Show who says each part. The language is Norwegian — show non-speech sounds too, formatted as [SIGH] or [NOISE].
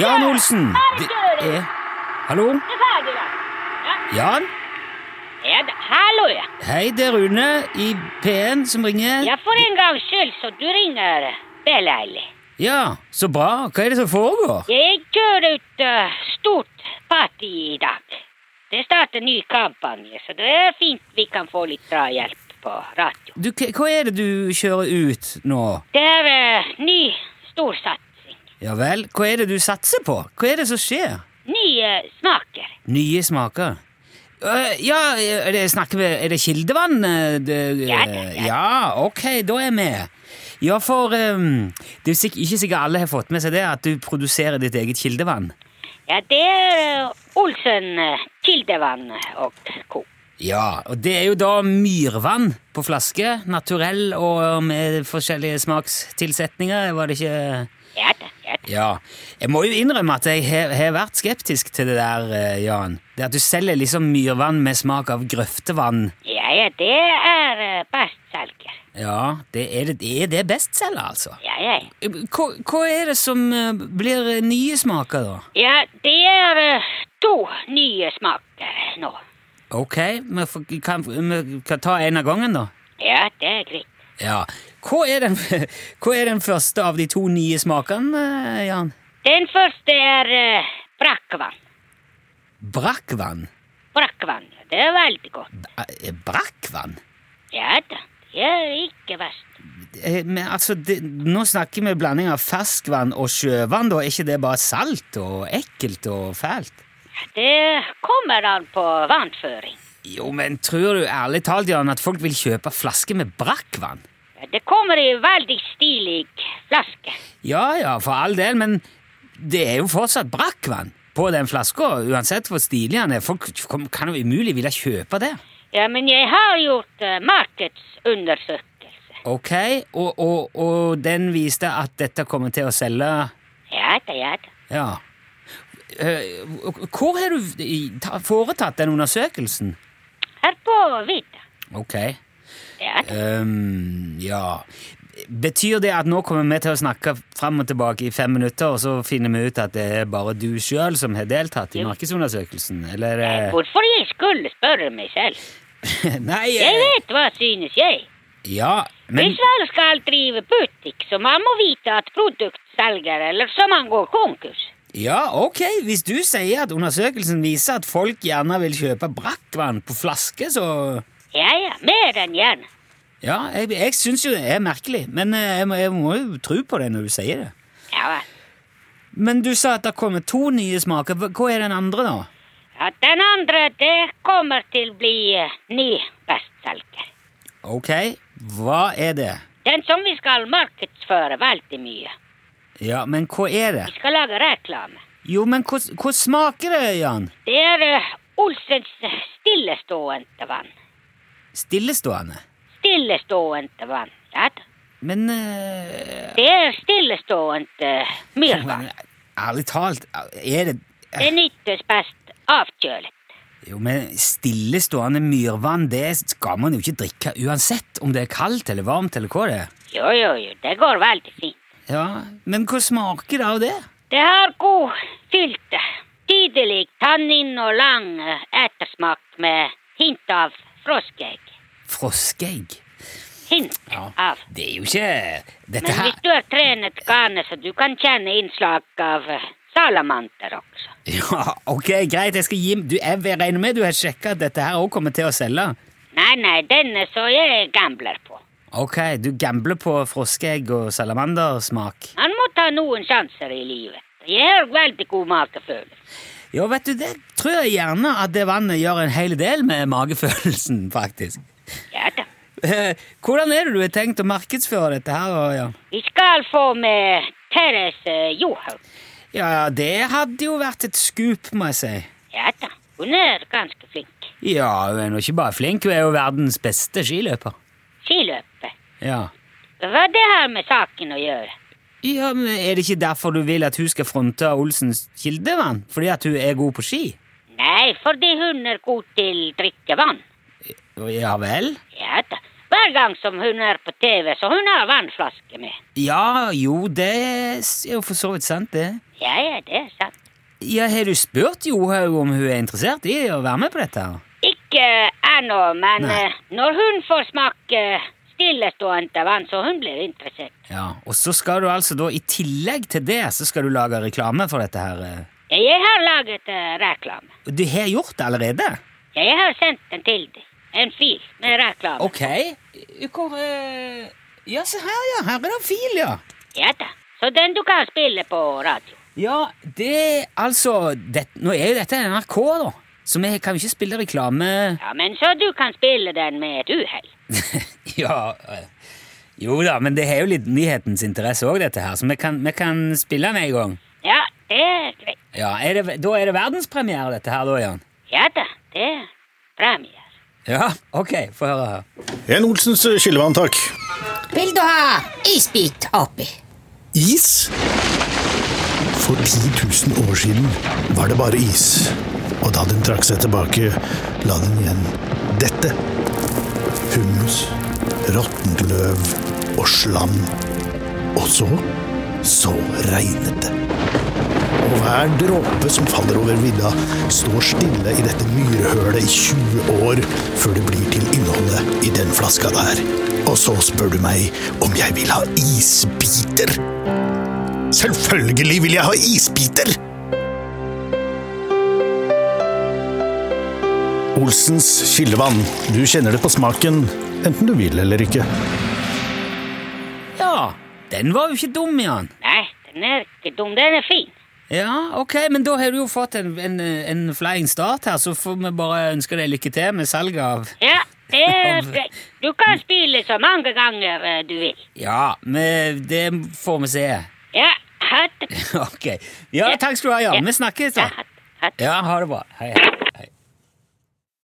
Speaker 1: Jan Olsen! Det er Hallo?
Speaker 2: er ferdig, da.
Speaker 1: Jan?
Speaker 2: Ja da. Hallo, ja.
Speaker 1: Hei, det er Rune i P1 som ringer.
Speaker 2: Ja, for en gangs skyld så du ringer. Det er deilig.
Speaker 1: Ja, så bra. Hva er det som foregår?
Speaker 2: Jeg kjører ut eh, stort party i dag. Det starter ny kampanje, så det er fint vi kan få litt drahjelp på radio.
Speaker 1: Du, hva hva er det du kjører ut nå?
Speaker 2: Det er uh, ny storsatsing.
Speaker 1: Ja vel, hva er det du satser på? Hva er det som skjer?
Speaker 2: Nye eh, smaker.
Speaker 1: Nye smaker. Øh, ja, er det, snakker vi Er det kildevann? øh, Det, øh,
Speaker 2: Ja, ja, ja.
Speaker 1: ja, ok, da er vi med. Ja, for øhm, det er sikk- ikke sikkert alle har fått med seg det, at du produserer ditt eget kildevann.
Speaker 2: Ja, det er eh, Olsen eh, Kildevann og co.
Speaker 1: Ja, og det er jo da myrvann på flaske, naturell og med forskjellige smakstilsetninger, var det ikke?
Speaker 2: Ja da, ja da.
Speaker 1: Ja, jeg må jo innrømme at jeg har har vært skeptisk til det der, eh, Jan. Det at du selger liksom myrvann med smak av grøftevann.
Speaker 2: Ja, ja, det er eh, bestselger.
Speaker 1: Ja, det er det, er det bestselger, altså.
Speaker 2: Ja, ja, ja.
Speaker 1: Hva, hva er det som eh, blir nye smaker, da?
Speaker 2: Ja, det er eh, to nye smaker nå.
Speaker 1: Ok, vi får- kan, vi kan ta en av gangen, da.
Speaker 2: Ja, det er greit.
Speaker 1: Ja. Hva er den, [LAUGHS] hva er den første av de to nye smakene, eh, Jan?
Speaker 2: Den første er eh, brakkvann.
Speaker 1: Brakkvann?
Speaker 2: Brakkvann, det er veldig godt.
Speaker 1: Eh, Brakkvann?
Speaker 2: Ja da, det er ikke verst.
Speaker 1: Eh, Men altså, det, nå snakker vi blanding av ferskvann og sjøvann, da. Er ikke det bare salt og ekkelt og fælt?
Speaker 2: Det kommer an på vannføring.
Speaker 1: Jo, men tror du ærlig talt, Jan, at folk vil kjøpe flasker med brakkvann?
Speaker 2: Det kommer i veldig stilig flaske.
Speaker 1: Ja ja, for all del, men det er jo fortsatt brakkvann på den flaska, uansett hvor stilig den er. Folk kom- kan jo umulig ville kjøpe det.
Speaker 2: Ja, men jeg har gjort eh, markedsundersøkelse.
Speaker 1: Ok, og, og, og den viste at dette kommer til å selge
Speaker 2: Ja da, ja da.
Speaker 1: Ja. Eh, Hvor har du i- ta- foretatt den undersøkelsen?
Speaker 2: Her på vidda.
Speaker 1: Ok.
Speaker 2: Ja da.
Speaker 1: Ehm, ja Betyr det at nå kommer vi til å snakke fram og tilbake i fem minutter, og så finner vi ut at det er bare du sjøl som har deltatt i
Speaker 2: Jo.
Speaker 1: markedsundersøkelsen? Eller eh,
Speaker 2: Hvorfor jeg skulle spørre meg selv?
Speaker 1: [LAUGHS] Nei
Speaker 2: Jeg
Speaker 1: eh,
Speaker 2: vet hva synes jeg.
Speaker 1: Ja, men
Speaker 2: Hvis man skal drive butikk, så man må vite at produkt selger, eller så man går konkurs.
Speaker 1: Ja, ok, hvis du sier at undersøkelsen viser at folk gjerne vil kjøpe brakkvann på flaske, så
Speaker 2: Ja, ja, mer enn gjerne.
Speaker 1: Ja, jeg, jeg syns jo det er merkelig, men eh, jeg, må- jeg må jo tro på det når du sier det.
Speaker 2: Ja, vel.
Speaker 1: Men du sa at det kommer to nye smaker. Hva hva er den andre, da?
Speaker 2: ja, den andre, det kommer til å bli eh, ny bestselger.
Speaker 1: Ok, hva er det?
Speaker 2: Den som vi skal markedsføre veldig mye.
Speaker 1: Ja, men hva er det?
Speaker 2: Vi skal lage reklame.
Speaker 1: Jo, men hva, hva smaker det, Jan?
Speaker 2: Det er eh, Olsens stillestående vann.
Speaker 1: Stillestående.
Speaker 2: Stillestående vann. Ja, da.
Speaker 1: Men eh,
Speaker 2: det er stillestående eh, myrvann.
Speaker 1: men, Ærlig talt, er det eh,
Speaker 2: Det nyttes best avkjølet.
Speaker 1: Jo, men stillestående myrvann, det skal man jo ikke drikke uansett om det er kaldt eller varmt eller hva det er.
Speaker 2: Jo, jo, jo, det går veldig fint.
Speaker 1: Ja, men hva smaker det av det?
Speaker 2: Det har god fylte. Tydelig tannin og lang eh, ettersmak med hint av froskeegg.
Speaker 1: Froskeegg.
Speaker 2: Hint
Speaker 1: Ja.
Speaker 2: av.
Speaker 1: Det er jo ikke
Speaker 2: Men
Speaker 1: Dette
Speaker 2: hvis
Speaker 1: her
Speaker 2: du har trenet garnet, så du kan kjenne innslag av eh, salamander også.
Speaker 1: [LAUGHS] Ja, ok, greit, jeg skal gi du, Jeg regner med du har sjekka at dette her òg kommer til å selge.
Speaker 2: Nei, nei, denne så jeg gambler på.
Speaker 1: Ok, du gambler på froskeegg og salamandersmak.
Speaker 2: Man må ta noen sjanser i livet. Jeg har veldig god magefølelse.
Speaker 1: Ja, vet du, det tror jeg gjerne at det vannet gjør en hel del med magefølelsen, faktisk. [LAUGHS]
Speaker 2: Ja da.
Speaker 1: Eh, Hvordan er det du har tenkt å markedsføre dette her, da, Jan?
Speaker 2: Vi skal få med Therese Johaug.
Speaker 1: Ja, ja, det hadde jo vært et skup, må jeg si.
Speaker 2: Ja da. Hun er ganske flink.
Speaker 1: Ja, hun er nå ikke bare flink, hun er jo verdens beste skiløper.
Speaker 2: Skiløper.
Speaker 1: Ja.
Speaker 2: Hva det har med saken å gjøre?
Speaker 1: Ja, men Er det ikke derfor du vil at hun skal fronte Olsens kildevann? Fordi at hun er god på ski?
Speaker 2: Nei, fordi hun er god til drikkevann.
Speaker 1: Ja vel?
Speaker 2: Ja da. Hver gang som hun er på TV, så hun har vannflaske med.
Speaker 1: Ja, jo, det er jo for så vidt sant, det.
Speaker 2: Ja, ja, det er
Speaker 1: Ja, Har du spurt Johaug om hun er interessert i å være med på dette? her?
Speaker 2: Ikke ennå, men
Speaker 1: Nei.
Speaker 2: eh, når hun får smake stillestående vann, så hun blir interessert.
Speaker 1: Ja, Og så skal du altså da, i tillegg til det, så skal du lage reklame for dette her. eh.
Speaker 2: Jeg har laget eh, reklame.
Speaker 1: Og Du har gjort det allerede?
Speaker 2: Jeg har sendt den til deg. En fil med reklame.
Speaker 1: Ok. Hvor eh, Ja, se her, ja. Her er det fil, ja.
Speaker 2: Ja da. Så den du kan spille på radio.
Speaker 1: Ja, det altså det, Nå er jo dette NRK, da. Så vi kan jo ikke spille reklame
Speaker 2: Ja, men så du kan spille den med et uhell.
Speaker 1: [LAUGHS] Ja eh, Jo da, men det har jo litt nyhetens interesse òg, dette her. Så vi kan, vi kan spille den en gang.
Speaker 2: Ja, det er greit.
Speaker 1: Ja, er det, Da er det verdenspremiere, dette her, da, Jan?
Speaker 2: Ja da, det er premier.
Speaker 1: Ja, ok. Få høre her.
Speaker 3: En Olsens skyllevann, takk.
Speaker 4: Vil du ha isbit oppi?
Speaker 5: Is?
Speaker 3: For 10 000 år siden var det bare is. Og da den trakk seg tilbake, la den igjen dette. Humus, råttent løv og slam. Og så så regnet det. Og hver dråpe som faller over vidda, står stille i dette myrhølet i 20 år før det blir til innholdet i den flaska der. Og så spør du meg om jeg vil ha isbiter. Selvfølgelig vil jeg ha isbiter! Olsens kildevann. Du kjenner det på smaken, enten du vil eller ikke.
Speaker 1: Ja, den var jo ikke dum, Jan.
Speaker 2: Nei, den er ikke dum. Den er fin.
Speaker 1: Ja, ok, men da har du jo fått en, en, en flying start her, så får vi bare ønske deg lykke til med salget av
Speaker 2: Ja, det
Speaker 1: Ja,
Speaker 2: er
Speaker 1: men-
Speaker 2: greit. Du kan spille så mange ganger eh, du vil.
Speaker 1: Ja, men det får vi se. [LAUGHS]
Speaker 2: Ja, hatt.
Speaker 1: Ok. Ja, takk skal du ha, Jan.
Speaker 2: Ja.
Speaker 1: Vi snakkes,
Speaker 2: Ja,
Speaker 1: da.
Speaker 2: hatt. hatt.
Speaker 1: Ja, ha det bra. Hei, hei.